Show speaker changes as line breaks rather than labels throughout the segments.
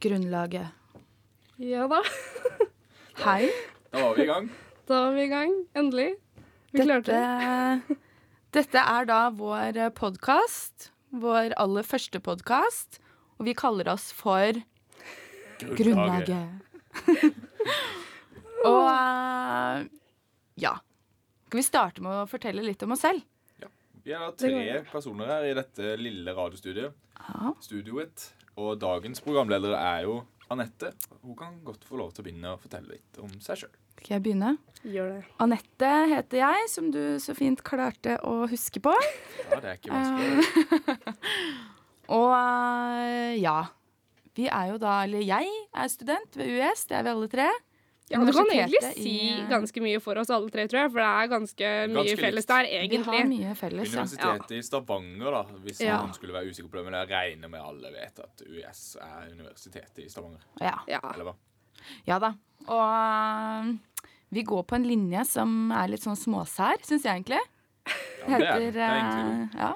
grunnlaget.
Ja da.
Hei.
Da var vi i gang.
Da er vi i gang. Endelig. Vi klarte det.
Dette, dette er da vår podkast. Vår aller første podkast. Og vi kaller oss for Grunnlaget. og eh, ja. Skal vi starte med å fortelle litt om oss selv?
Vi er da tre personer her i dette lille radiostudiet.
Ja.
Studioet. Og dagens programleder er jo Anette. Hun kan godt få lov til å begynne å fortelle litt om seg sjøl.
Skal jeg begynne?
Gjør det.
Anette heter jeg, som du så fint klarte å huske på.
Ja, det er ikke vanskelig.
Eh,
Og eh, ja. Vi er jo da, eller jeg er student ved UiS, det er vi alle tre.
Ja, du kan egentlig
Universitetet
si
i- eh,
ganske mye for oss alle tre, tror jeg. For det er ganske mye
Ganske
felles
likt.
der,
Vi har
egentlig.
mye felles. Ja.
Universitetet i Stavanger, da, hvis
Ja.
noen skulle være usikker på det. Men jeg regner med alle vet at UiS er universitetet i Stavanger.
Ja.
Ja.
Eller hva?
ja da. Og eh, vi går på en linje som er litt sånn småsær, syns jeg egentlig.
Ja, det er det. Det er egentlig
eh, ja.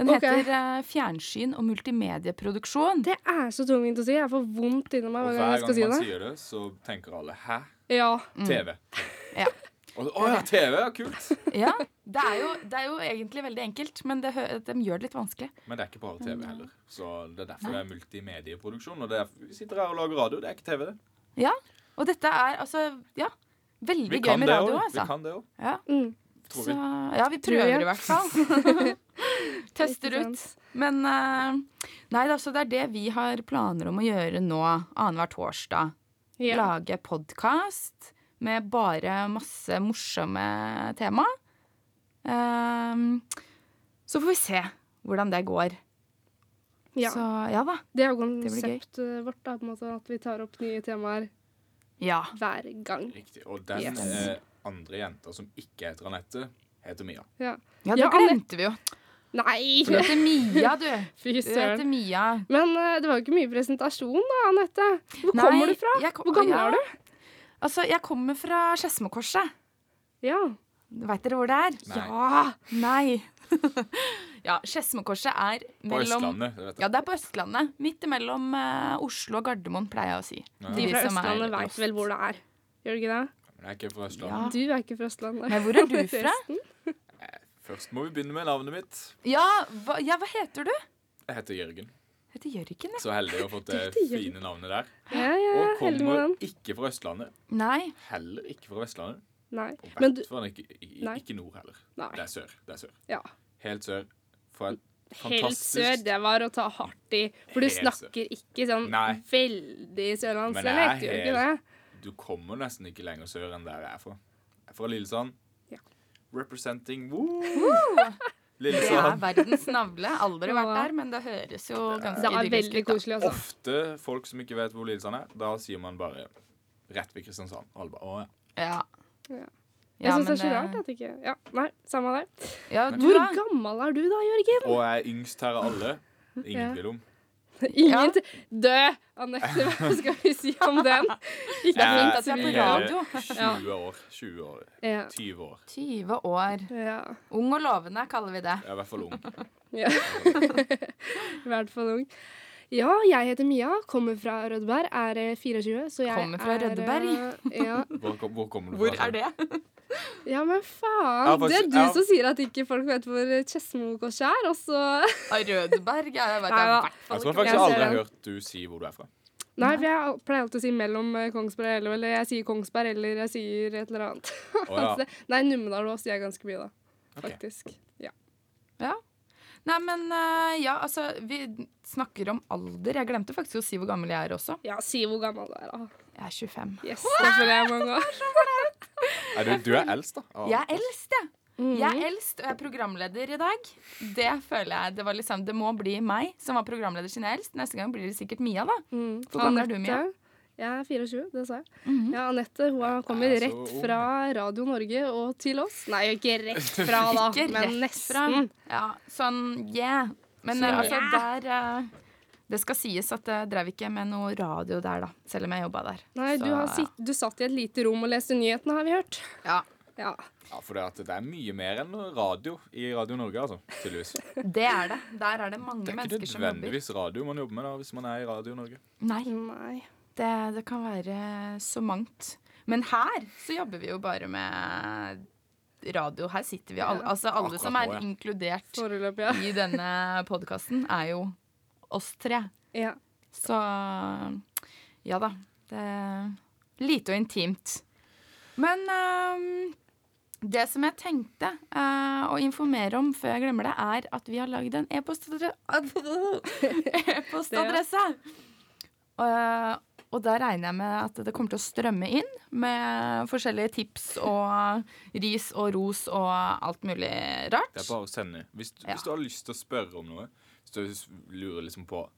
Den
Ok.
heter eh, Fjernsyn og multimedieproduksjon.
Det er så tungvint å si. Jeg får vondt inni meg
Og
hver gang jeg
hver gang
skal si
man
det. Mm.
sier det, så tenker alle 'hæ?
Ja.
TV'.
Ja.
Og, Å ja, TV! ja, Kult!
ja. Det, er jo, det er jo egentlig veldig enkelt, men det, hø- de gjør det litt vanskelig.
Men det er ikke bare TV heller. Så Det er derfor det er multimedieproduksjon. Og det er, vi sitter her og lager radio. Det er ikke TV, det.
Ja. Og dette er altså Ja. Veldig
Vi
gøy
kan
med
det
radio,
òg. Vi
altså.
kan det òg.
Ja.
Mm.
Tror
Så,
vi.
ja, vi
Tror
prøver
jeg.
i hvert fall. Tester
Ikke
ut. Men eh, Nei da, så det er det vi har planer om å gjøre nå annenhver torsdag.
Ja.
Lage podkast med bare masse morsomme tema. Ehm, så får vi se hvordan det går.
ja.
Så ja da.
Det er jo
Det blir gøy.
konseptet vårt, da, på en måte, at vi tar opp nye temaer
Ja.
hver gang.
Riktig. Og den
Yes.
eh, andre jenta som ikke heter Anette, heter Mia.
Ja.
Ja, det
Ja,
glemte vi jo.
Nei!
Du heter Mia, du.
Fy
Du heter
søren.
Mia.
Men eh, det var jo ikke mye presentasjon, da, Anette. Hvor
Nei,
kommer du fra?
jeg kom-
Hvor gammel
ja.
er du?
Altså, jeg kommer fra Skedsmokorset.
Ja.
Veit dere hvor det er?
Nei.
ja.
Nei. ja, Skedsmokorset er
På
mellom
Østlandet. det vet jeg.
ja, det er på Østlandet. Midt imellom eh, Oslo og Gardermoen, pleier jeg å si.
Ja.
De
De
fra
som er
Østlandet
lost.
veit vel hvor det er. Gjør du ikke det?
Men jeg er ikke fra
Ja.
Østlandet.
Du er ikke fra Østlandet.
Nei, hvor er du fra?
Først må vi begynne med navnet mitt.
Ja, hva, ja, hva heter du?
Jeg heter Jørgen.
Jeg heter Jørgen, ja.
Så heldig å ha fått det
Du heter Jørgen.
fine navnet der.
Ja, ja,
Og
Eh, heldig med
kommer
den.
ikke fra Østlandet.
Nei.
Heller ikke fra Vestlandet.
Nei.
Og
Men du
vet faen ikke, i-
Nei.
ikke nord heller. Det
Nei.
er sør. Det er sør.
Ja.
Helt sør. Fra et
Helt sør,
fantastisk
det var å ta hardt i. For du
Helt sør.
snakker ikke sånn
Nei.
veldig
Men det er
sørlandsdialekt, gjør du ikke
helt-
det?
Du kommer nesten ikke lenger sør enn der jeg er fra. Jeg er fra Lillesand.
Ja.
Representing woo!
Det er
Lillesand.
verdens navle. Aldri vært
Ja.
der, men det høres jo
Det
ganske
er veldig
idyllisk ut.
koselig, altså.
Ofte folk som ikke vet hvor Lillesand er, da sier man bare rett ved Kristiansand. Alle bare, å, ja.
da. Ja.
Ja.
Ja,
Jeg syns det er så
men, eh,
rart at ikke Ja, nei, samme det.
Ja, du,
Hvor
da?
gammel er du da, Jørgen?
Og jeg er yngst her av alle.
Ja.
Ingen tvil om.
Ja.
Ingen Død! Anette, hva skal vi si om den?
Det er
Ikke
fint at vi er på
Jeg er
radio.
20 år. 20 år.
ja.
20 år.
20 år.
ja.
Ung og lovende, kaller vi det.
Jeg er i hvert fall ung.
Ja. I hvert fall ung. Ja, jeg heter Mia, kommer fra Rødberg, er eh, 24, så jeg
Kommer fra
er, eh,
Rødberg?
Ja,
Hvor, kom- hvor kommer du fra? altså?
Hvor er det?
ja men
Ja,
faen! Det
faktisk-
er du
ja.
som sier at ikke folk vet hvor eh, Skedsmokorset er, og så
Rødberg? Ja, jeg vet
Nei,
jeg
da.
i hvert
Jeg
fall
tror
ikke.
faktisk
Jeg ser
aldri jeg har
den.
hørt du si hvor du er fra.
Nei, for jeg al- pleier alltid å si mellom eh, Kongsberg eller Eller jeg sier Kongsberg, eller jeg sier et eller annet.
Å, ja.
Altså, Nei, Numedal også sier jeg ganske mye, da.
Ok.
Faktisk. Ja.
Ja. Nei, men eh, ja, altså Vi snakker om alder. Jeg glemte faktisk å si hvor gammel jeg er også.
ja, si hvor gammel du er, da.
Jeg er 25.
Yes, det føler jeg mange år.
Er du, du er eldst, da. av-
Jeg er eldst, jeg. Jeg
Mhm.
er eldst, og jeg er programleder i dag. Det føler jeg, det var liksom Det må bli meg som var programleder siden jeg er eldst. Neste gang blir det sikkert Mia, da.
Mm.
Hvor gammel er du, Mia? Mhm.
Anette, Jeg er 24, det sa jeg. Ja, Anette hun har- kommer
Jeg er så
rett
ung.
fra Radio Norge og til oss. Nei, ikke rett fra, da,
Ikke
men
rett fra.
nesten.
Ja, sånn yeah. Men
Så-
eh, altså, der eh, Det skal sies at jeg drev ikke med noe radio der, da. Selv om jeg jobba der.
Nei, du,
Så,
har
ja.
sitt, du satt i et lite rom og leste nyhetene, har vi hørt.
Ja.
Ja.
Ja, For det, at det er mye mer enn radio i Radio Norge, altså. Tydeligvis.
Det er det. Der er det mange
Det er ikke
mennesker som jobber.
nødvendigvis radio man jobber med da, hvis man er i Radio Norge.
Nei,
Nei.
det, det kan være så mangt. Men her så jobber vi jo bare med radio. Her sitter vi alle. Altså alle
Akkurat
som
nå,
er
ja.
inkludert
Foreløpig, ja.
i denne podkasten, er jo oss tre.
ja.
Så ja da. Det er lite og intimt. Men ehm, det som jeg tenkte eh, å informere om før jeg glemmer det, er at vi har lagd en e-postadre- e-postadresse. Eh, og da regner jeg med at det kommer til å strømme inn med forskjellige tips og ris og ros og alt mulig rart.
Det er bare å sende. Hvis,
Ja.
hvis du har lyst til å spørre om noe, hvis du s- lurer liksom på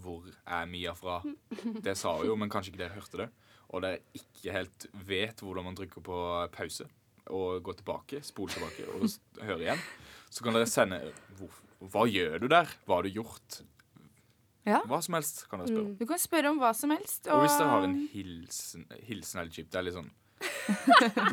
hvor er Mia fra Det sa hun jo, men kanskje ikke dere hørte det. Og dere ikke helt vet hvordan man trykker på pause og går tilbake, spole tilbake og s- høre igjen, så kan dere sende hvor, Hva gjør du der? Hva har du gjort?
Ja.
Hva som helst kan dere spørre om.
Du kan spørre om hva som helst.
Og hvis dere har en hilsen Hilsen er litt kjipt. Det er litt sånn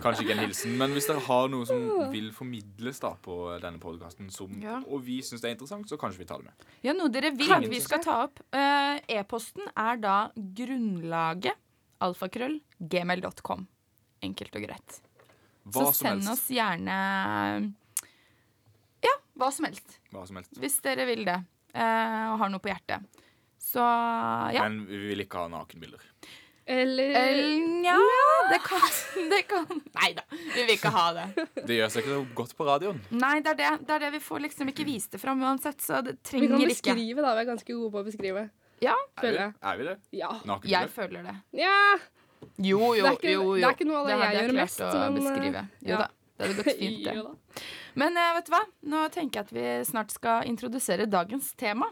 Kanskje ikke en hilsen, men hvis dere har noe som vil formidles da på denne podkasten,
Ja.
og vi syns det er interessant, så kanskje vi tar det med.
Ja, noe dere vil
Kanskje.
vi skal ta opp. Eh, E-posten er da grunnlaget alfakrøll gmail.com. Enkelt og greit.
Hva
så
som
send
helst.
oss gjerne Ja, hva som helst.
Hva som helst.
Hvis dere vil det. eh, og har noe på hjertet. Så ja.
Men vi vil ikke ha nakenbilder.
Eller
Eh, ja, det kan, det kan. Nei da, vi vil ikke ha det.
Det gjør seg ikke så godt på radioen.
Nei, det er det. det er det. Vi får liksom ikke vist det fram uansett, så det
Vi kan
trenger ikke.
beskrive, da. Vi er ganske gode på å beskrive.
Ja,
Er vi,
Føler jeg.
er vi det?
Ja.
jeg
Nakenbilder?
føler det.
Nja.
Jo, jo,
Det er ikke-
jo, jo.
det er ikke noe av det jeg gjør mest,
Det hadde jeg klart å
men, eh,
beskrive. Jo
ja.
da, det hadde gått fint,
Jo
det.
da.
Men eh, vet du hva? Nå tenker jeg at vi snart skal introdusere dagens tema.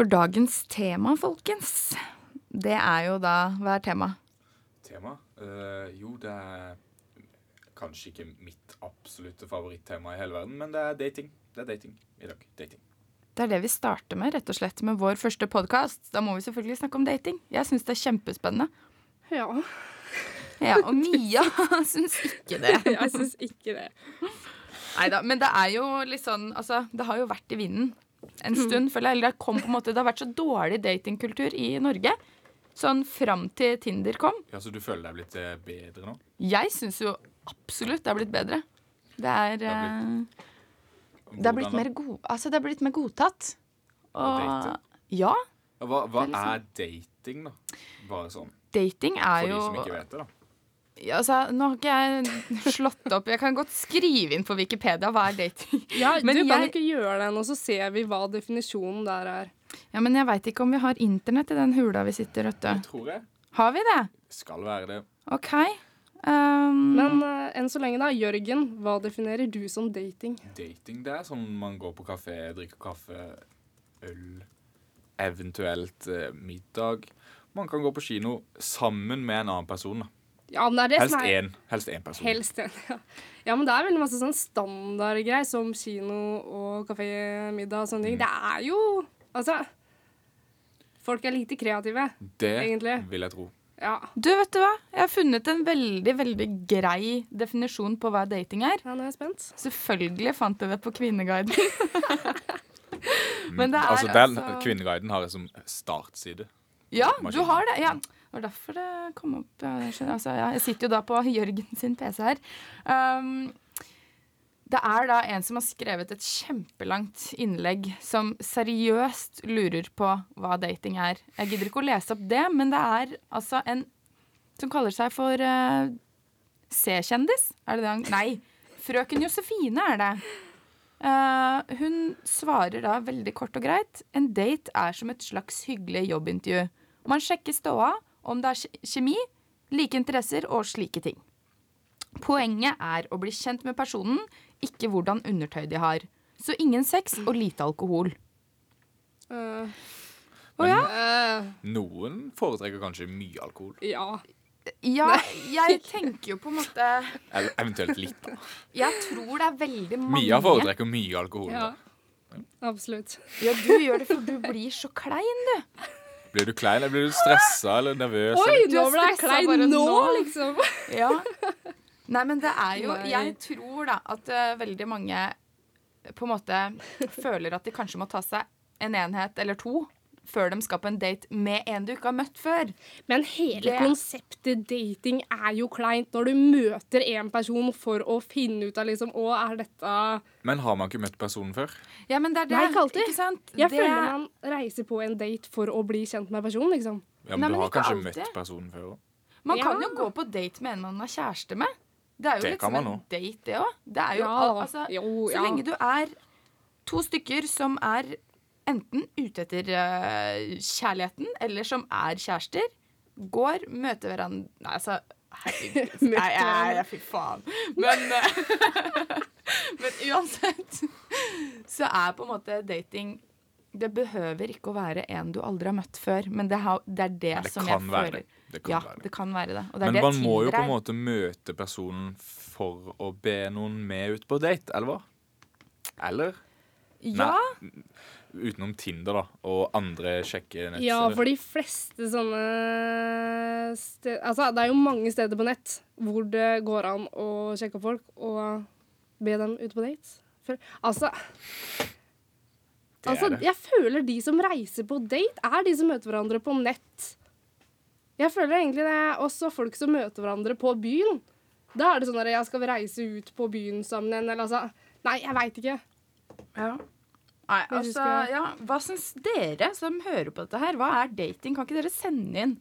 For dagens tema, folkens, det er jo da Hva er tema?
Tema? Eh, jo, det er kanskje ikke mitt absolutte favorittema i hele verden, men det er dating. Det er dating i dag. Dating.
Det er det vi starter med, rett og slett, med vår første podkast. Da må vi selvfølgelig snakke om dating. Jeg syns det er kjempespennende.
Ja.
Ja, og Mia syns ikke det.
Jeg syns ikke det.
Neida, men det er jo litt sånn altså, Det har jo vært i vinden en stund, føler jeg. Eller det kom på en måte Det har vært så dårlig datingkultur i Norge. Sånn fram til Tinder kom.
Ja, Så du føler deg blitt eh, bedre nå?
Jeg syns jo absolutt det har blitt bedre. Det er eh, Det har blitt
Hvordan da?
mer, god, altså, det har blitt mer godtatt.
Å date?
ja.
Ja, Hva, hva
Det er
er dating, da? Bare sånn,
Dating
for
er
de
jo
som ikke vet det, da.
ja, altså, Nå har ikke jeg slått opp Jeg kan godt skrive inn på Wikipedia hva er dating.
Ja,
Men
du kan jo
jeg-
ikke gjøre det nå, så ser vi hva definisjonen der er.
Ja, Men jeg veit ikke om vi har internett i den hula vi sitter, vet du.
Tror jeg.
Har vi det?
Skal være det.
OK. Um,
Men eh, enn så lenge, da. Jørgen, hva definerer du som dating?
Dating, det er sånn man går på kafé, drikker kaffe, øl, eventuelt eh, middag. Man kan gå på kino sammen med en annen person. da.
Ja, men det er det
Helst
som er
én. Helst én person.
Helst en, ja. ja. Men det er veldig masse sånn standardgreier som kino og kafé, middag og sånne
Mm.
ting. Det er jo Altså Folk er lite kreative.
det
egentlig.
vil jeg tro.
Ja.
Du, vet du hva? Jeg har funnet en veldig, veldig grei definisjon på hva dating er.
ja nå er jeg spent.
Selvfølgelig fant jeg det på Kvinneguiden. Men det er
altså, den
altså-
Kvinneguiden har jeg som startside.
Ja, du har det. Ja. Det var derfor det kom opp. Ja, jeg, skjønner. altså, ja, jeg sitter jo da på Jørgen sin PC her. Um, det er da en som har skrevet et kjempelangt innlegg som seriøst lurer på hva dating er. Jeg gidder ikke å lese opp det, men det er altså en som kaller seg for eh, C-kjendis. Er det det han Nei. Frøken Josefine er det. Eh, hun svarer da veldig kort og greit. En date er som et slags hyggelig jobbintervju. Man sjekker ståa, om det er kje- kjemi, like interesser og slike ting. Poenget er å bli kjent med personen, ikke hvordan undertøy de har. Så ingen sex og lite alkohol.
Øh,
Å ja?
øh,
Noen foretrekker kanskje mye alkohol.
ja.
Ja, jeg tenker jo på en måte
Eller eventuelt litt. da.
Jeg tror det er veldig mange
Mia foretrekker mye alkohol.
ja.
da.
Absolutt.
Ja, du gjør det, for du blir så klein, du.
Blir du klein, eller blir du stressa eller nervøs?
Oi,
eller?
Du
nå
er
ble jeg
stressa
klein
bare
nå,
nå.
liksom.
Ja. Nei, men det er jo
Nei.
Jeg tror da at eh, veldig mange på en måte føler at de kanskje må ta seg en enhet eller to før de skal på en date med en du ikke har møtt før.
Men hele
Det-
konseptet dating er jo kleint når du møter en person for å finne ut av liksom Å, er dette
Men har man ikke møtt personen før?
Ja, men det er det.
Nei, ikke alltid.
sant?
Jeg
det,
føler man reiser på en date for å bli kjent med personen, liksom.
Ja, men
Nei,
Du
men
har
ikke
kanskje
alltid.
møtt personen før òg.
man kan
Ja.
jo gå på date med en man har kjæreste med. Det er jo
Det
litt
kan
som
man
en
også.
date, det òg. Det er jo al-
da.
altså,
jo,
Så
ja.
lenge du er to stykker som er enten ute etter eh, kjærligheten, eller som er kjærester, går, møter hverandre Nei, altså herregud.
Møter
Nei, jeg-
hverandre.
jeg- fy faen. Men, eh, men uansett så er på en måte dating Det behøver ikke å være en du aldri har møtt før, men det, har, det er det,
Men det
som jeg
kan være
føler.
det. Det kan
Ja,
være det.
det kan være det. Og det er
Men
det
man må jo
Tinder
på en
er.
måte møte personen for å be noen med ut på date, eller hva? Eller?
Ja,
Utenom Tinder, da, og andre kjekke nettsteder.
Ja, for de fleste sånne sted, Altså, det er jo mange steder på nett hvor det går an å sjekke opp folk og be dem ut på date. For, altså,
det
altså
er det.
jeg føler de som reiser på date, er de som møter hverandre på nett. Jeg føler egentlig det er også folk som møter hverandre på byen. Da er det sånn at jeg skal vi reise ut på byen sammen igjen, eller altså Nei, jeg veit ikke.
Ja. Nei,
Hvis du
altså,
skal-
ja, Hva syns dere som hører på dette her? Hva er dating? Kan ikke dere sende inn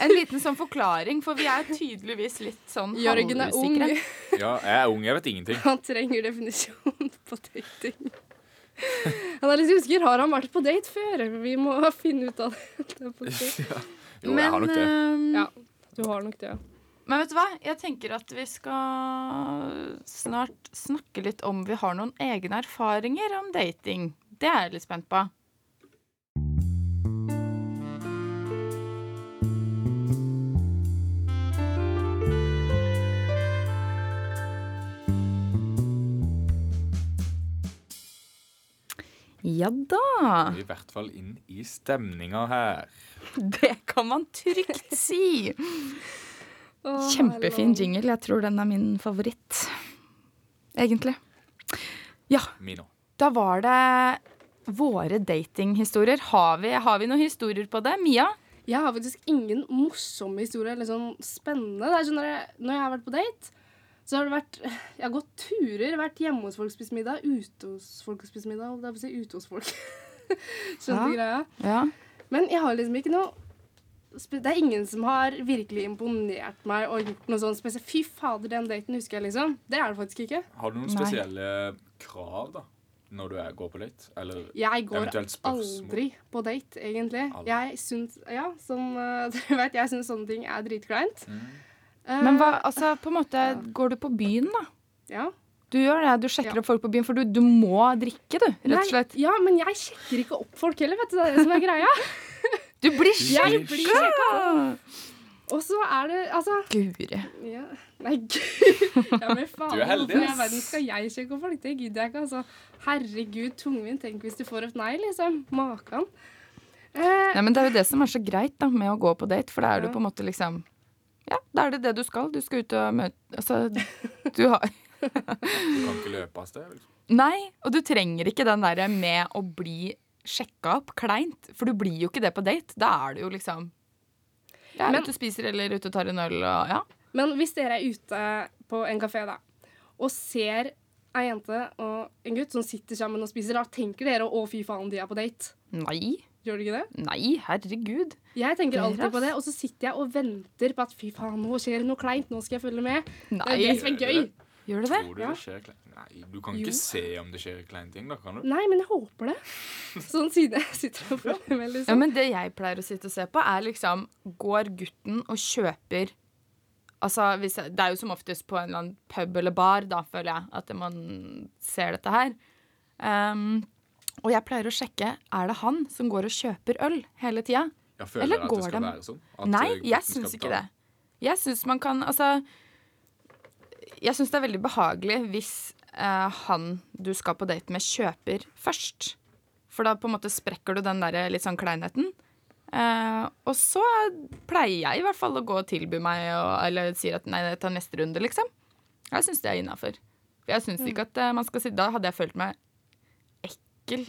en liten sånn forklaring? For vi er tydeligvis litt sånn
Jørgen er ung.
halvusikre.
Ja, jeg er ung, jeg vet ingenting.
Han trenger definisjon på dating. Han er litt usikker. Har han vært på date før? Vi må finne ut av det. Det er på date.
Ja. Jo, jeg har nok det.
ehm,
Ja, du har nok det. ja.
Men vet du hva? Jeg tenker at vi skal snart snakke litt om vi har noen egne erfaringer om dating. Det er jeg litt spent på. Ja da.
I hvert fall inn i stemninga her.
Det kan man trygt si.
Å,
Kjempefin
herlig.
jingle. Jeg tror den er min favoritt, egentlig. Ja,
Min òg.
da var det våre datinghistorier. Har vi, har vi noen historier på det? Mia?
Jeg har faktisk ingen morsomme historier eller sånn spennende. Det er sånn når jeg, når jeg har vært på date, så har det vært Jeg har gått turer, vært hjemme hos folk og spist middag, ute hos folk og spist middag, holdt jeg på å si. Ute hos folk. Skjønte
Ja.
greia?
Ja.
Men jeg har liksom ikke noe spe- Det er ingen som har virkelig imponert meg og gjort noe sånn spesielt. Fy fader, den daten husker jeg, liksom. Det er det faktisk ikke.
Har du noen
Nei.
spesielle krav da, når du er, går på date? Eller
Jeg går
eventuelt spørsmål?
aldri på date, egentlig.
Aldri.
Jeg syns Ja, som eh, dere vet, jeg syns sånne ting er dritkleint.
Mm.
Eh,
Men hva, altså, på en måte, går du på byen, da?
Ja.
Du gjør det, du sjekker
Ja.
opp folk på byen, for du, du må drikke, du. Rett og slett.
Nei, ja, men jeg sjekker ikke opp folk heller, vet du. Det er det som er greia.
Du blir
Jeg
sjuk!
blir Og så er det Altså
Guri.
ja. Nei, gud. Ja, men faen.
Du er heldig,
Hvorfor i
ass.
all verden skal jeg sjekke opp folk? Det gidder jeg ikke, altså. Herregud, tungvint. Tenk hvis du får et nei, liksom. Makan. Eh,
Nei, men det er jo det som er så greit da, med å gå på date, for da er
Ja.
du på en måte liksom Ja, da er det det du skal. Du skal ut og møte Altså, du har
Du kan ikke løpe av sted? Liksom.
Nei, og du trenger ikke den derre med å bli sjekka opp kleint, for du blir jo ikke det på date. Da er du jo liksom Jeg er
Men-
ute og spiser eller ute og tar en øl og ja.
men hvis dere er ute på en kafé, da, og ser ei jente og en gutt som sitter sammen og spiser, da tenker dere 'å, fy faen, de er på date'.
Nei.
Gjør dere ikke det?
Nei, herregud.
Jeg tenker
Dere,
alltid på
ass.
det, og så sitter jeg og venter på at 'fy faen, nå skjer det noe kleint', nå skal jeg følge med. Det er jo
Nei.
det som er gøy.
Gjør du det?
Tror du
Ja.
det skjer klein- Nei, du kan ikke
Jo.
se om det skjer kleine ting, da, kan du?
Nei, men jeg håper det. Sånn siden jeg sitter og følger med,
Ja,
liksom.
men det jeg pleier å sitte og se på, er liksom Går gutten og kjøper Altså, hvis jeg, Det er jo som oftest på en eller annen pub eller bar, da, føler jeg, at man ser dette her. Ehm, og jeg pleier å sjekke er det han som går og kjøper øl hele tida.
Jeg føler
Eller
at
går
det skal
dem-
være sånn. at, eh,
Nei,
gutten
jeg
skal
syns ikke det.
betale.
Jeg syns man kan Altså Jeg syns det er veldig behagelig hvis eh, han du skal på date med, kjøper først. For da på en måte sprekker du den der litt sånn kleinheten. Eh, og så pleier jeg i hvert fall å gå og tilby meg og, eller sier at nei, jeg tar neste runde, liksom. Jeg syns det er innafor. For jeg syns ikke at eh, man skal sitte Da hadde jeg følt meg ekkel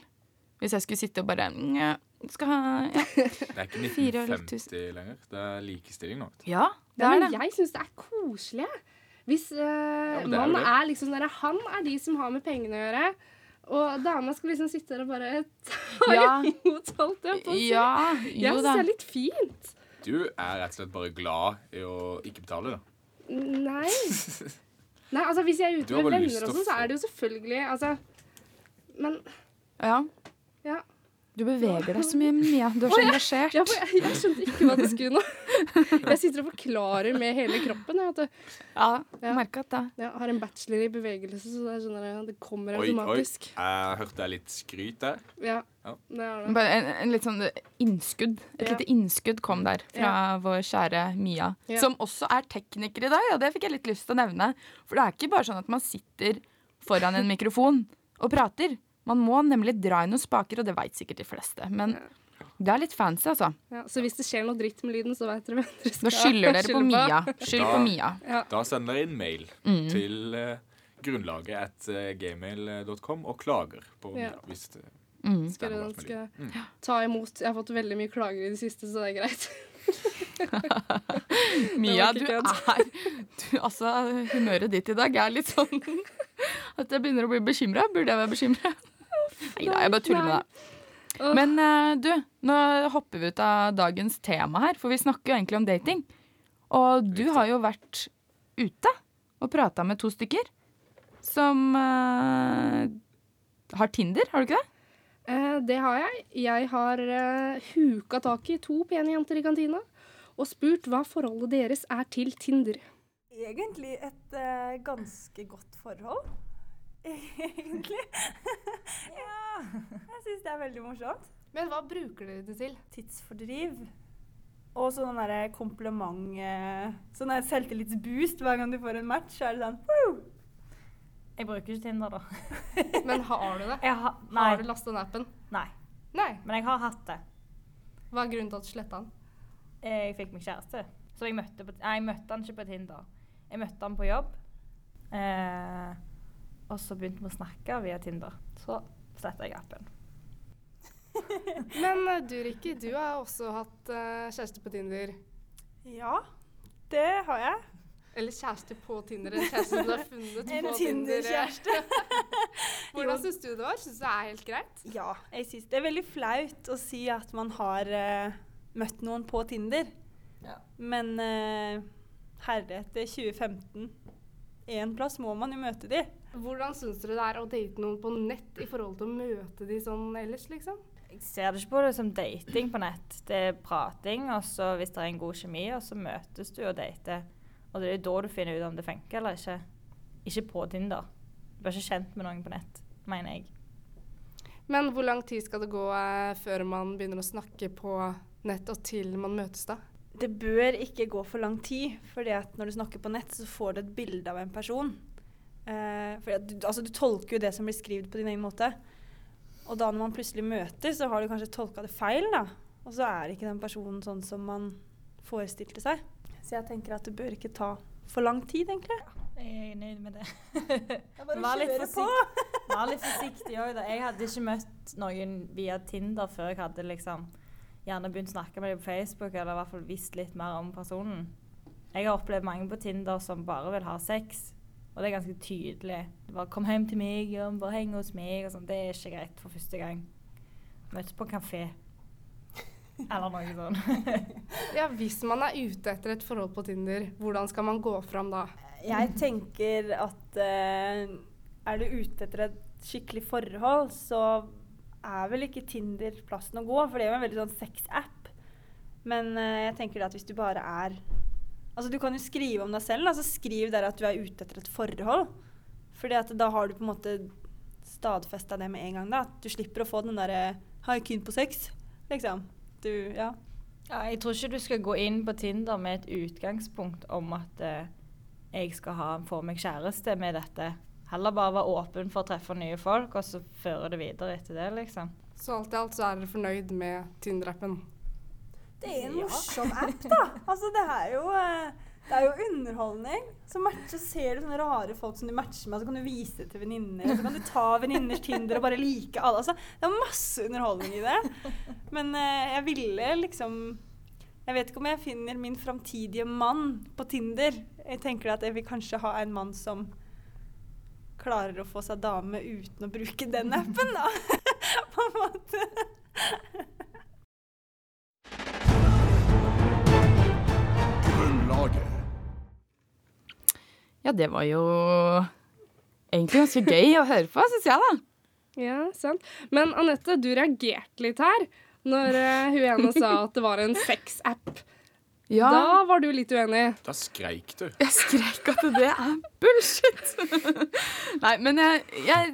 hvis jeg skulle sitte og bare «Nja, skal ha, ja.
Det er ikke
Fire år,
1950 lenger. Det er likestilling nå. vet du.
ja, det
Ja,
er
men
det.
jeg syns det er koselig. jeg. Hvis eh,
men det er jo
man
det.
er liksom der, Han er de som har med pengene å gjøre. Og dama skal liksom sitte der og bare ta
Ja.
imot alt det på seg.
Ja,
jeg
jo
syns
da.
det er litt fint.
Du er rett og slett bare glad i å ikke betale, da.
Nei. Nei, altså Hvis jeg er
Du
ute
har
med
bare lyst
venner og
til å
sånn, så
få-
er det jo selvfølgelig altså, Men
Ja.
ja.
Du beveger deg så mye, Mia. Du er så engasjert.
Jeg, får- jeg skjønte ikke hva du skulle nå. Jeg sitter og forklarer med hele kroppen. Jeg, vet du.
Ja,
Ja.
merka det.
jeg har en bachelor i bevegelse, så det, er sånn der, det kommer
Oi, oi.
automatisk.
Jeg hørte jeg litt skryt der.
Ja,
Ja.
det er det.
Bare en, en litt sånn innskudd. Et
Ja.
lite innskudd kom der fra vår kjære Mia,
Ja.
som også er tekniker i dag, og det fikk jeg litt lyst til å nevne. For det er ikke bare sånn at man sitter foran en mikrofon og prater. Man må nemlig dra i noen spaker, og det veit sikkert de fleste. Men det er litt fancy, altså.
Ja, så hvis det skjer noe dritt med lyden, så vet dere hvem dere skal
Da skylder dere på
skylde
Mia. Skyld på
Da-
Mia.
Da sender dere inn mail
Mm.
til eh, grunnlaget at eh, gmail.com og klager på om
Ja.
hvis det
Mm.
Skal dere-
det er noe galt med
skal
lyden.
jeg ta imot. Jeg har fått veldig mye klager i det siste, så det er greit.
Mia, du
Det
er
var
du, Altså, humøret ditt i dag er litt sånn at jeg begynner å bli bekymra. Burde jeg være bekymra? Nei da, jeg bare tuller med deg.
Åh.
Men eh, du, nå hopper vi ut av dagens tema her, for vi snakker jo egentlig om dating. Og du har jo vært ute og prata med to stykker som eh, har Tinder, har du ikke det?
Eh, det har jeg. Jeg har eh, huka tak i to pene jenter i kantina og spurt hva forholdet deres er til Tinder.
egentlig et eh, ganske godt forhold. Egentlig. ja. Jeg syns det er veldig morsomt.
Men hva bruker dere det til?
Tidsfordriv. Og sånn derre kompliment eh, Sånn der selvtillitsboost hver gang du får en match. Så er det sånn Woo!
Jeg bruker ikke Tinder, da.
Men har du det?
Jeg har-
Har du
nei,
lasta ned appen?
nei.
Nei.
Men jeg har hatt det.
Hva er grunnen til at du sletta den?
Jeg fikk meg kjæreste. Så jeg møtte, på, nei, jeg møtte han ikke på Tinder. Jeg møtte han på jobb. Eh, og så begynte vi å snakke via Tinder. Så sletta jeg appen.
Men eh, du, Ricky, du har også hatt eh, kjæreste på Tinder.
Ja, det har jeg.
Eller kjæreste på Tinder. En kjæreste du har funnet
En
på Tinder.
Tinder-kjæreste.
Hvordan syns du det var? Syns du det er helt greit?
Ja, jeg synes det er veldig flaut å si at man har eh, møtt noen på Tinder. Men eh, herre, etter 2015 En plass må man jo møte de.
Hvordan syns dere det er å date noen på nett i forhold til å møte de sånn ellers, liksom?
Jeg ser det ikke på det som dating på nett. Det er prating, og så hvis det er en god kjemi, og så møtes du og dater. Og det er da du finner ut om det funker eller ikke. Ikke på Tinder. Du blir ikke kjent med noen på nett, mener jeg.
Men hvor lang tid skal det gå eh, før man begynner å snakke på nett, og til man møtes, da?
Det bør ikke gå for lang tid, for når du snakker på nett, så får du et bilde av en person. Eh, fordi at du, altså, du tolker jo det som blir skrevet på din egen måte. Og da når man plutselig møter, så har du kanskje tolka det feil, da. Og så er ikke den personen sånn som man forestilte seg. Så jeg tenker at det bør ikke ta for lang tid, egentlig.
Jeg er nøyd med det. Vær litt forsikt- Vær litt forsiktig òg, da. Jeg hadde ikke møtt noen via Tinder før jeg hadde liksom gjerne begynt å snakke med dem på Facebook, eller i hvert fall visst litt mer om personen. Jeg har opplevd mange på Tinder som bare vil ha sex, og det er ganske tydelig. Det bare 'kom hjem til meg', og 'bare heng hos meg', og sånn. Det er ikke greit for første gang. Møtes på kafé. Eller noe sånt.
Ja, Hvis man er ute etter et forhold på Tinder, hvordan skal man gå fram da?
Jeg tenker at eh, er du ute etter et skikkelig forhold, så er vel ikke Tinder plassen å gå, for det er jo en veldig sånn sex-app. Men eh, jeg tenker det at hvis du bare er Altså, du kan jo skrive om deg selv, da, så skriv der at du er ute etter et forhold. Fordi at da har du på en måte stadfesta det med en gang, da. At du slipper å få den derre 'Har jeg keen på sex?' liksom. Du, ja.
Ja, jeg tror ikke du skal gå inn på Tinder med et utgangspunkt om at eh, jeg skal ha, få meg kjæreste med dette. Heller bare være åpen for å treffe nye folk, og så føre det videre etter det, liksom.
Så alt i alt så er dere fornøyd med Tinder-appen.
Det er en morsom app, da. Altså, det er jo eh, det er jo underholdning. Så matcher, ser du sånne rare folk som du matcher med, så kan du vise det til venninner. Så kan du ta venninners Tinder og bare like alle. Altså, det er masse underholdning i det. Men eh, jeg ville liksom Jeg vet ikke om jeg finner min framtidige mann på Tinder. Jeg tenker at jeg vil kanskje ha en mann som klarer å få seg dame uten å bruke den appen, da. på en måte.
Grunnlaget.
Ja, det var jo egentlig ganske gøy å høre på, syns jeg, da.
Ja, sant. Men Anette, du reagerte litt her når eh, hun ene sa at det var en sexapp.
Ja,
Da var du litt uenig.
Da skreik du.
jeg skrek at det er bullshit. Nei, men jeg, jeg,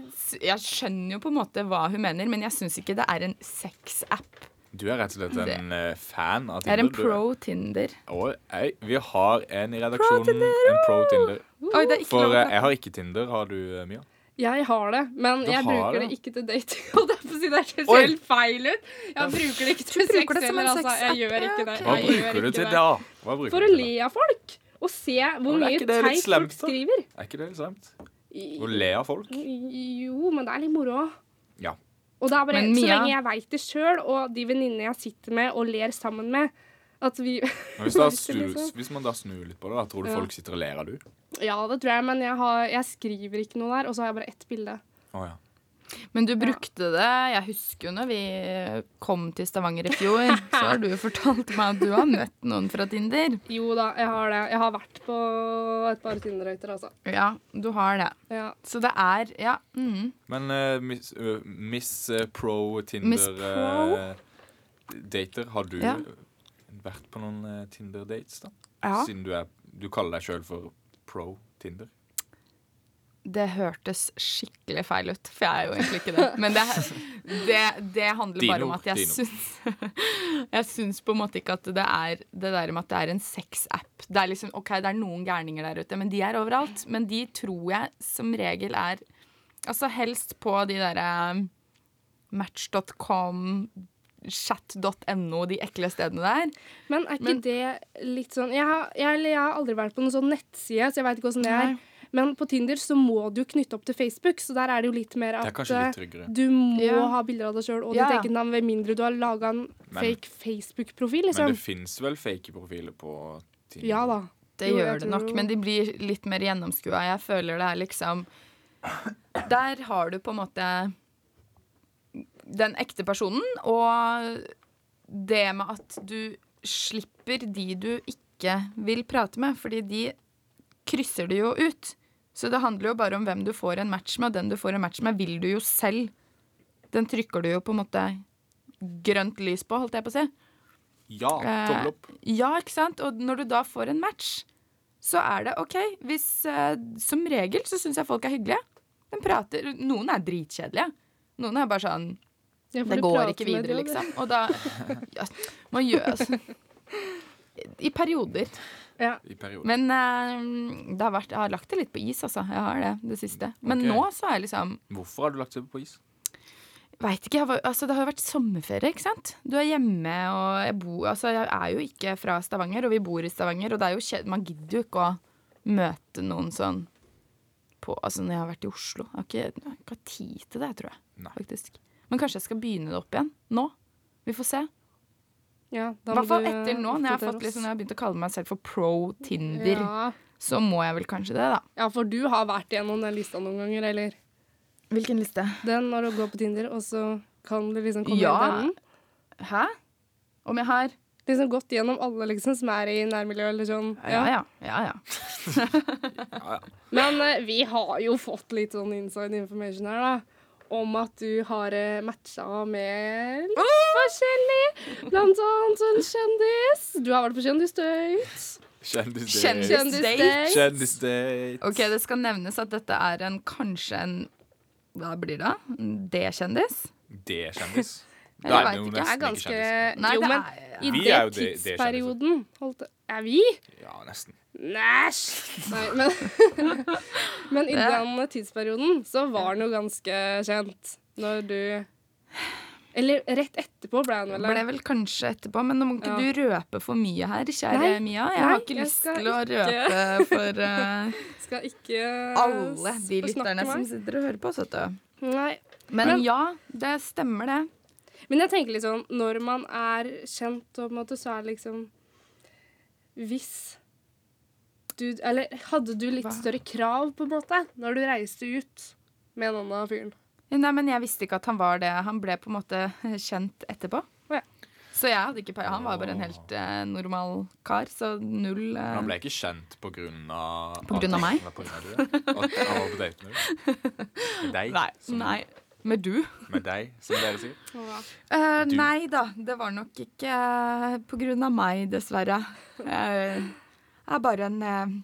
jeg skjønner jo på en måte hva hun mener, men jeg syns ikke det er en sexapp.
Du er rett og slett en eh, fan av
Det
Tinder.
er en
du.
pro Tinder.
Og jeg, vi har en i redaksjonen, en pro Tinder.
Oi, oh! det er ikke
For
lov.
eh, jeg har ikke Tinder. Har du, eh, Mia?
Jeg har det, men
Du
jeg
har
bruker
det?
det ikke til dating. Og derfor sier det ser helt feil ut. Jeg bruker det ikke til
bruker
sex
det som en
heller, altså.
sexapp,
Jeg gjør ikke det.
ja,
Hva
ok.
Jeg gjør
bruker du
ikke
til
det.
da? Hva bruker
For
du
å
til
le
da?
av folk. Og se hvor
Men er
mye
ikke det litt
teit folk
slemt, da?
skriver.
Er ikke det litt slemt?
I-
Å le av folk?
Jo, men det er litt moro òg.
Ja.
Og det er bare
Men
så
Mia-
lenge jeg veit det sjøl, og de venninnene jeg sitter med og ler sammen med, at vi
Men hvis, da
Merker
snur,
liksom.
hvis man da snur litt på det, da, tror du
Ja.
folk sitter og ler av du?
Ja, det tror jeg, men jeg, har, jeg skriver ikke noe der, og så har jeg bare ett bilde.
Å ja.
Men du brukte det. Jeg husker jo når vi kom til Stavanger i fjor, så har du jo fortalt meg at du har møtt noen fra Tinder.
Jo da, jeg har det. Jeg har vært på et par Tinder-øyter, altså.
Ja, du har det.
Ja.
Så det er Ja. Mm.
Men eh, Miss, eh, miss eh, Pro
Miss
Tinder
Pro?
eh, Dater, har du
Ja.
vært på noen eh, Tinder-dates, da?
ja.
Siden du, er, du kaller deg sjøl for Pro Tinder.
Det hørtes skikkelig feil ut, for jeg er jo egentlig ikke det. Men det, det, det handler bare om
Dino,
at jeg
Dino.
syns Jeg syns på en måte ikke at det er det der med at det er en sexapp. Det er liksom, OK, det er noen gærninger der ute, men de er overalt. Men de tror jeg som regel er Altså helst på de eh, derre match.com, chat.no, de ekle stedene der.
Men er ikke
Men-
det litt sånn jeg har, jeg, eller jeg har aldri vært på noen sånn nettside, så jeg veit ikke åssen det er. Men på Tinder så må du jo knytte opp til Facebook, så der er det jo litt mer
Det
at
er kanskje litt tryggere.
eh, du må
Ja.
ha bilder av deg sjøl og
Ja.
ditt eget navn, med mindre du har laga en
Men-
fake Facebook-profil,
Men
liksom.
det fins vel fake profiler på Tinder?
Ja da.
Det
Jo, jeg
gjør det
tror
nok,
jo-
men de blir litt mer gjennomskua. Jeg føler det er liksom Der har du på en måte den ekte personen, og det med at du slipper de du ikke vil prate med, fordi de krysser du jo ut. Så det handler jo bare om hvem du får en match med, og den du får en match med, vil du jo selv. Den trykker du jo på en måte grønt lys på, holdt jeg på å si.
Ja,
Eh,
tommel opp.
Ja, ikke sant? Og når du da får en match, så er det OK. Hvis, eh, som regel så syns jeg folk er hyggelige. De prater, noen er dritkjedelige. Noen er bare sånn
Ja, for
Det
du
går
prater
ikke videre,
med de, og det-
liksom. Og da ja, Man gjør altså I perioder.
I perioden.
Men eh, det har vært, jeg har lagt det litt på is, altså. Jeg har det det siste. Men
Ok.
nå så er jeg liksom
Hvorfor har du lagt det på is?
Veit ikke. Jeg var, altså, det har jo vært sommerferie, ikke sant. Du er hjemme, og jeg bor Altså, jeg er jo ikke fra Stavanger, og vi bor i Stavanger, og det er jo kjed Man gidder jo ikke å møte noen sånn på Altså, når jeg har vært i Oslo. Jeg har ikke, jeg har ikke hatt tid til det, tror jeg.
Nei.
Faktisk. Men kanskje jeg skal begynne det opp igjen. Nå. Vi får se.
Ja, da
I
må
hvert fall
du
etter nå, når jeg har,
oppdatere
fått,
oss.
liksom, når jeg har begynt å kalle meg selv for pro Tinder.
ja.
Så må jeg vel kanskje det, da.
ja, for du har vært gjennom den lista noen ganger, eller?
Hvilken liste?
Den når du går på Tinder, og så kan du liksom komme
Ja.
inn i den?
Hæ? Om jeg har
Liksom gått gjennom alle liksom som er i nærmiljøet, eller sånn.
Ja ja. ja, ja.
Men eh, vi har jo fått litt sånn inside information her, da. Om at du har eh, matcha med litt forskjellig. Blant annet en kjendis. Du har vært på Kjendisdate.
Kjendisdate.
Kjendisdate.
Kjendisdate.
Ok, det skal nevnes at dette er en kanskje en Hva blir det? da? En D-kjendis?
Det er kjendis.
Jeg
Da er
vet
vi jo
ikke,
Det er
nesten ikke
ganske
kjendis.
Nei,
Jo,
det
men
er-
i
Vi
det
er jo de- de
tidsperioden holdt det Er vi?
Ja, nesten.
Næsj! Nei, men, men i
Det-
den tidsperioden så var han jo ganske kjent. Når du Eller rett etterpå ble han vel
Ble vel kanskje etterpå, men nå må ikke
Ja.
du røpe for mye her, kjære
Nei,
Mia. Jeg
nei,
har ikke
jeg
lyst
skal
til å
ikke.
røpe for eh,
Skal ikke
alle de
s- forsnakke
lytterne som
meg.
sitter og hører på. Så, vet du.
Nei.
Men,
Men-
ja, det stemmer det.
Men jeg tenker litt sånn, når man er kjent, og på en måte, så er det liksom Hvis du Eller hadde du litt
Hva?
større krav, på en måte, når du reiste ut med en annen fyren?
Nei, men jeg visste ikke at han var det. Han ble på en måte kjent etterpå.
Å, ja.
Så jeg hadde ikke peiling. Han var bare en helt eh, normal kar, så null
Men
eh,
han ble ikke kjent på grunn av
På grunn av meg?
På grunn av det. At han var på date med deg. Med deg,
Nei.
som-
nei. Med du?
Med deg, som dere sier.
Eh,
Du?
Nei da, det var nok ikke eh, på grunn av meg, dessverre. Jeg er bare en eh,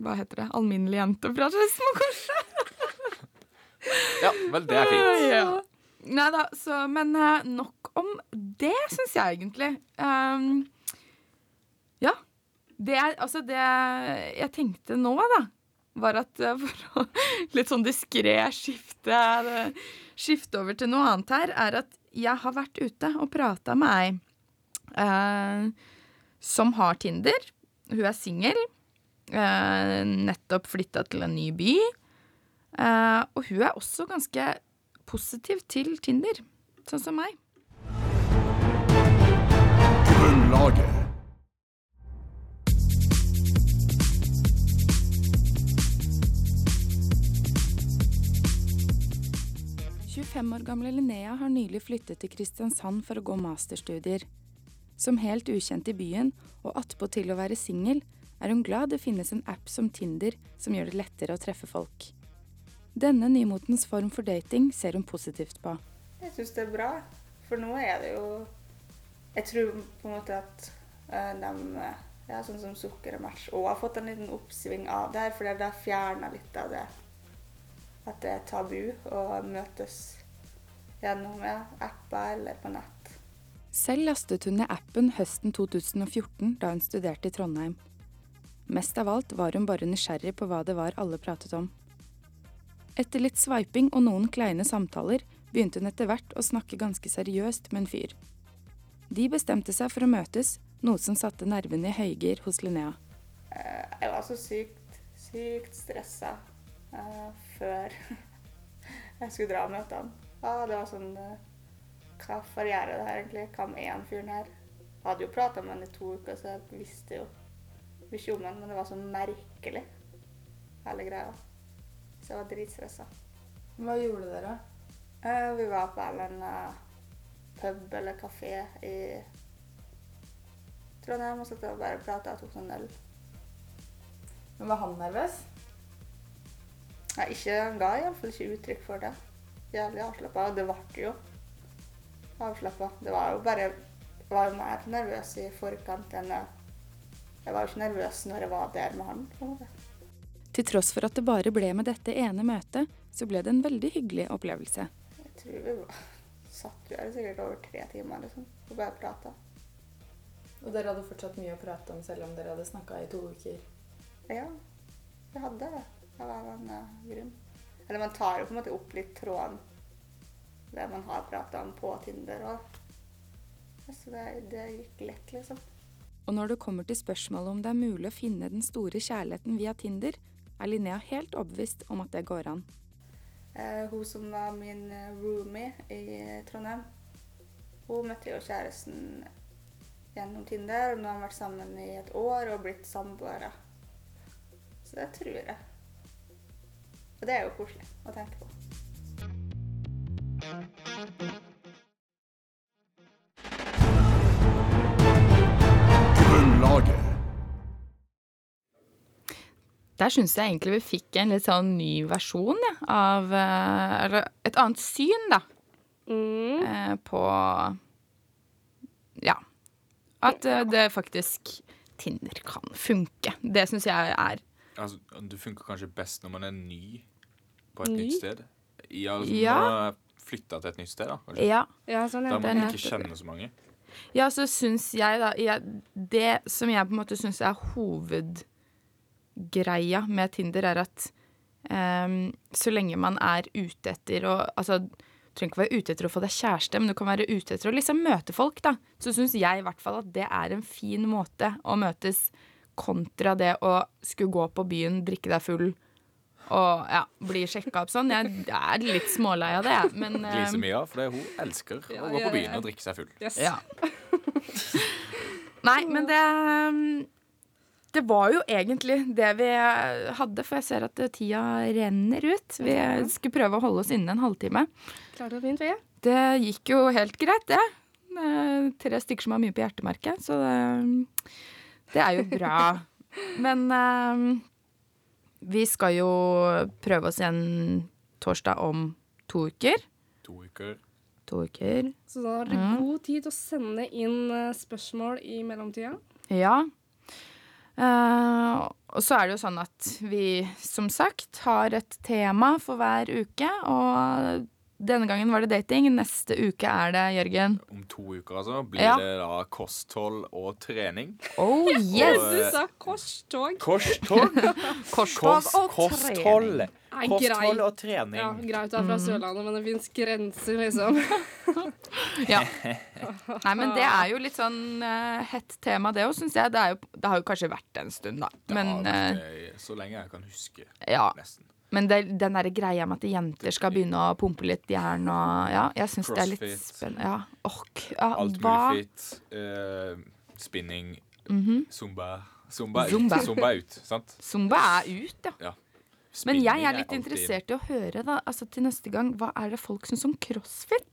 hva heter det, alminnelig jente fra Skedsmo.
Ja, vel, det er fint.
Nei da, så Men eh, nok om det, syns jeg egentlig. Um, ja. Det er altså det jeg tenkte nå, da, var at eh, for å litt sånn diskré skifte, eh, skifte over til noe annet her, er at jeg har vært ute og prata med ei eh, som har Tinder. Hun er singel. eh, nettopp flytta til en ny by. eh, og hun er også ganske positiv til Tinder, sånn som meg. Grunnlaget. 25 år gamle Linnea har nylig flyttet til Kristiansand for å gå masterstudier. Som helt ukjent i byen, og attpåtil å være singel, er hun glad det finnes en app som Tinder som gjør det lettere å treffe folk. Denne nymotens form for dating ser hun positivt på.
Jeg syns det er bra, for nå er det jo Jeg tror på en måte at eh, de eh, ja, Sånn som Sukker og Match òg har fått en liten oppsving av det her, for det har fjerna litt av det at det er tabu å møtes gjennom ja, apper eller på nett.
Selv lastet hun ned appen høsten 2014 da hun studerte i Trondheim. Mest av alt var hun bare nysgjerrig på hva det var alle pratet om. Etter litt sveiping og noen kleine samtaler begynte hun etter hvert å snakke ganske seriøst med en fyr. De bestemte seg for å møtes, noe som satte nervene i høygir hos Linnea.
Eh, Jeg var så sykt, sykt stressa eh, før jeg skulle dra og møte han. Ja, det var sånn eh, Hva for gjøre det her, egentlig? Hvem er han fyren her? Jeg hadde jo prata med han i to uker, så jeg visste jo mye om han, men det var så merkelig, hele greia. Så jeg var dritstressa.
Hva gjorde dere?
Eh, Vi var på en eller annen pub eller kafé i Trondheim og satt og bare prata og tok noen øl.
Var han nervøs?
Nei, ikke, han ga iallfall ikke uttrykk for det. Jævlig avslappa. Og det ble jo avslappa. Det var jo bare Jeg var jo mer nervøs i forkant enn jeg Jeg var jo ikke nervøs når jeg var der med han. på en måte.
Til tross for at det bare ble med dette ene møtet, så ble det en veldig hyggelig opplevelse.
Jeg tror vi var, satt jo her sikkert over tre timer liksom, og bare prata.
Og dere hadde fortsatt mye å prate om selv om dere hadde snakka i to uker?
Ja, vi hadde det av en eller annen grunn. Eller man tar jo på en måte opp litt tråden det man har prata om på Tinder og Så det, det gikk lett, liksom.
Og når det kommer til spørsmålet om det er mulig å finne den store kjærligheten via Tinder, er Linnea helt overbevist om at det går an.
Eh, hun som var min eh, roomie i Trondheim, hun møtte jo kjæresten gjennom Tinder. og Nå har de vært sammen i et år og blitt samboere. Så det tror jeg. Og det er jo koselig å tenke på.
Der syns jeg egentlig vi fikk en litt sånn ny versjon ja, av eh, Eller et annet syn, da,
Mm.
eh, på Ja. At eh, det faktisk Tinder kan funke. Det syns jeg er
Altså, du funker kanskje best når man er ny på et
Ny?
nytt sted. Ja, altså,
Ja.
Når man har flytta til et nytt sted, da. Kanskje.
Ja.
Ja, sånn,
Da
ja.
man
den
ikke
heter det.
kjenner så mange.
Ja, så syns jeg da jeg, Det som jeg på en måte syns er hovedgreia med Tinder, er at ehm, så lenge man er ute etter å Altså, trenger ikke være ute etter å få deg kjæreste, men du kan være ute etter å liksom møte folk, da. Så syns jeg i hvert fall at det er en fin måte å møtes kontra det å skulle gå på byen, drikke deg full og ja, bli sjekka opp sånn. Jeg er litt smålei av det, jeg, men eh,
Lise Mia, for det, hun elsker
Ja,
å gå
ja,
på byen
ja.
og drikke seg full.
Yes.
Ja. Nei, men det um, Det var jo egentlig det vi hadde, for jeg ser at tida renner ut. Vi skulle prøve å holde oss innen en halvtime.
Klarte det fint, vi.
Det gikk jo helt greit, det. det er tre stykker som har mye på hjertemerket, så det, det er jo bra. Men eh, vi skal jo prøve oss igjen torsdag om to uker.
To uker.
To uker.
Så da har dere
Ja.
god tid til å sende inn eh, spørsmål i mellomtida.
Ja. Eh, og så er det jo sånn at vi som sagt har et tema for hver uke. Og denne gangen var det dating. Neste uke er det, Jørgen.
Om to uker, altså, blir
Ja.
det da kosthold og trening.
Oh yes!
Og, eh,
sa korstog.
Korstog.
Korstog
Kost,
og
kosthold.
Nei,
Kosthold
greit.
og trening.
Ja, greit å være fra
Mm.
Sørlandet, men det fins grenser, liksom.
Ja. Nei, men det er jo litt sånn eh, hett tema, det òg, syns jeg. Det, er jo, det har jo kanskje vært en stund, da.
Det
Men,
har vært det i- så lenge jeg kan huske,
eh, ja.
nesten.
men det, den derre greia med at jenter skal begynne å pumpe litt jern og Ja, jeg syns det er litt
Crossfit.
spennende. Ja. Åh, k- ja,
Alt
hva-
mulig fit. eh, spinning.
Mhm.
Zumba. Zumba ut.
Zumba.
Zumba. ut, sant?
Zumba er ut, ja. Men
Spinning
jeg er litt
alltid-
interessert i å høre da, altså til neste gang, hva er det folk syns om crossfit?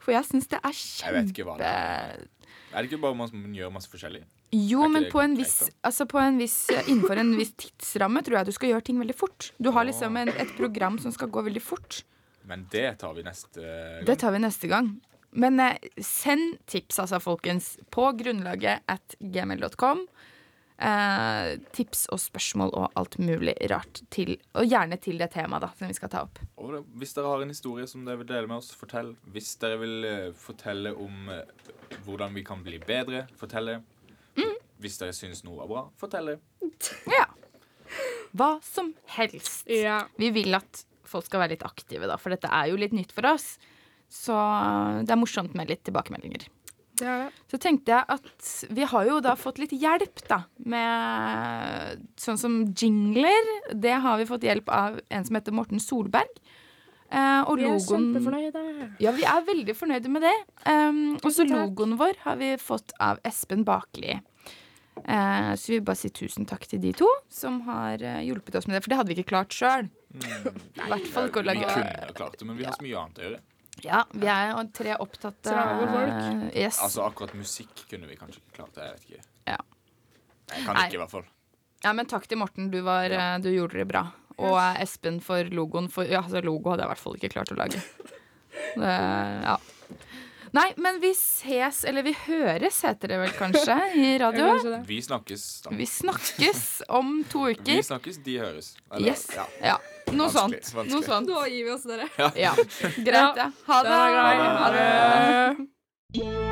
For jeg syns det er
Jeg vet
kjempe
ikke hva det er. Er det ikke bare man som gjør masse forskjellig?
Jo,
Er ikke
men
det
på en
greit,
viss, altså på en viss innenfor en viss tidsramme tror jeg du skal gjøre ting veldig fort. Du har liksom en, et program som skal gå veldig fort.
Men det tar vi neste gang.
Det tar vi neste gang. Men eh, send tips, altså, folkens, på grunnlaget at gmail.com. Eh, tips og spørsmål og alt mulig rart til, og gjerne til det temaet da, som vi skal ta opp.
Og da, hvis dere har en historie som dere vil dele med oss, fortell. Hvis dere vil eh, fortelle om eh, hvordan vi kan bli bedre, fortell det.
Mm.
Hvis dere syns noe var bra, fortell det.
Ja. Hva som helst.
Ja.
Vi vil at folk skal være litt aktive, da, for dette er jo litt nytt for oss. Så det er morsomt med litt tilbakemeldinger.
Det er det.
Så tenkte jeg at vi har jo da fått litt hjelp, da, med sånn som jingler. Det har vi fått hjelp av en som heter Morten Solberg. Eh, og
Vi er
logoen
kjempefornøyde.
Ja, vi er veldig fornøyde med det. Um, og så
Tusen takk.
logoen vår har vi fått av Espen Bakli. Eh, så vi vil bare si tusen takk til de to som har eh, hjulpet oss med det. For det hadde vi ikke klart sjøl. I hvert fall ikke å
vi
lage
kunne ha klart det, men vi har så mye annet å gjøre.
Ja, vi er jo tre opptatte
Travle folk.
eh, Yes.
Altså Akkurat musikk kunne vi kanskje ikke klart. Jeg vet ikke.
Ja.
Jeg kan
Nei.
ikke, i hvert fall.
Ja, men takk til Morten. Du, var, eh, du gjorde det bra. Og eh, Espen for logoen. For, ja, altså, logo hadde jeg i hvert fall ikke klart å lage. Det, ja. Nei, men vi ses, eller vi høres, heter det vel kanskje, i radio.
Kanskje det.
Vi snakkes. Da.
Vi snakkes om to
Vi
uker.
snakkes, de høres.
Yes.
ja.
Ja. Noe
Vanskelig,
sånt.
vanskelig.
Noe sånt.
Da gir vi oss, dere.
Ja. Greit, ja. Ha det.
Det var greit.
Ha det.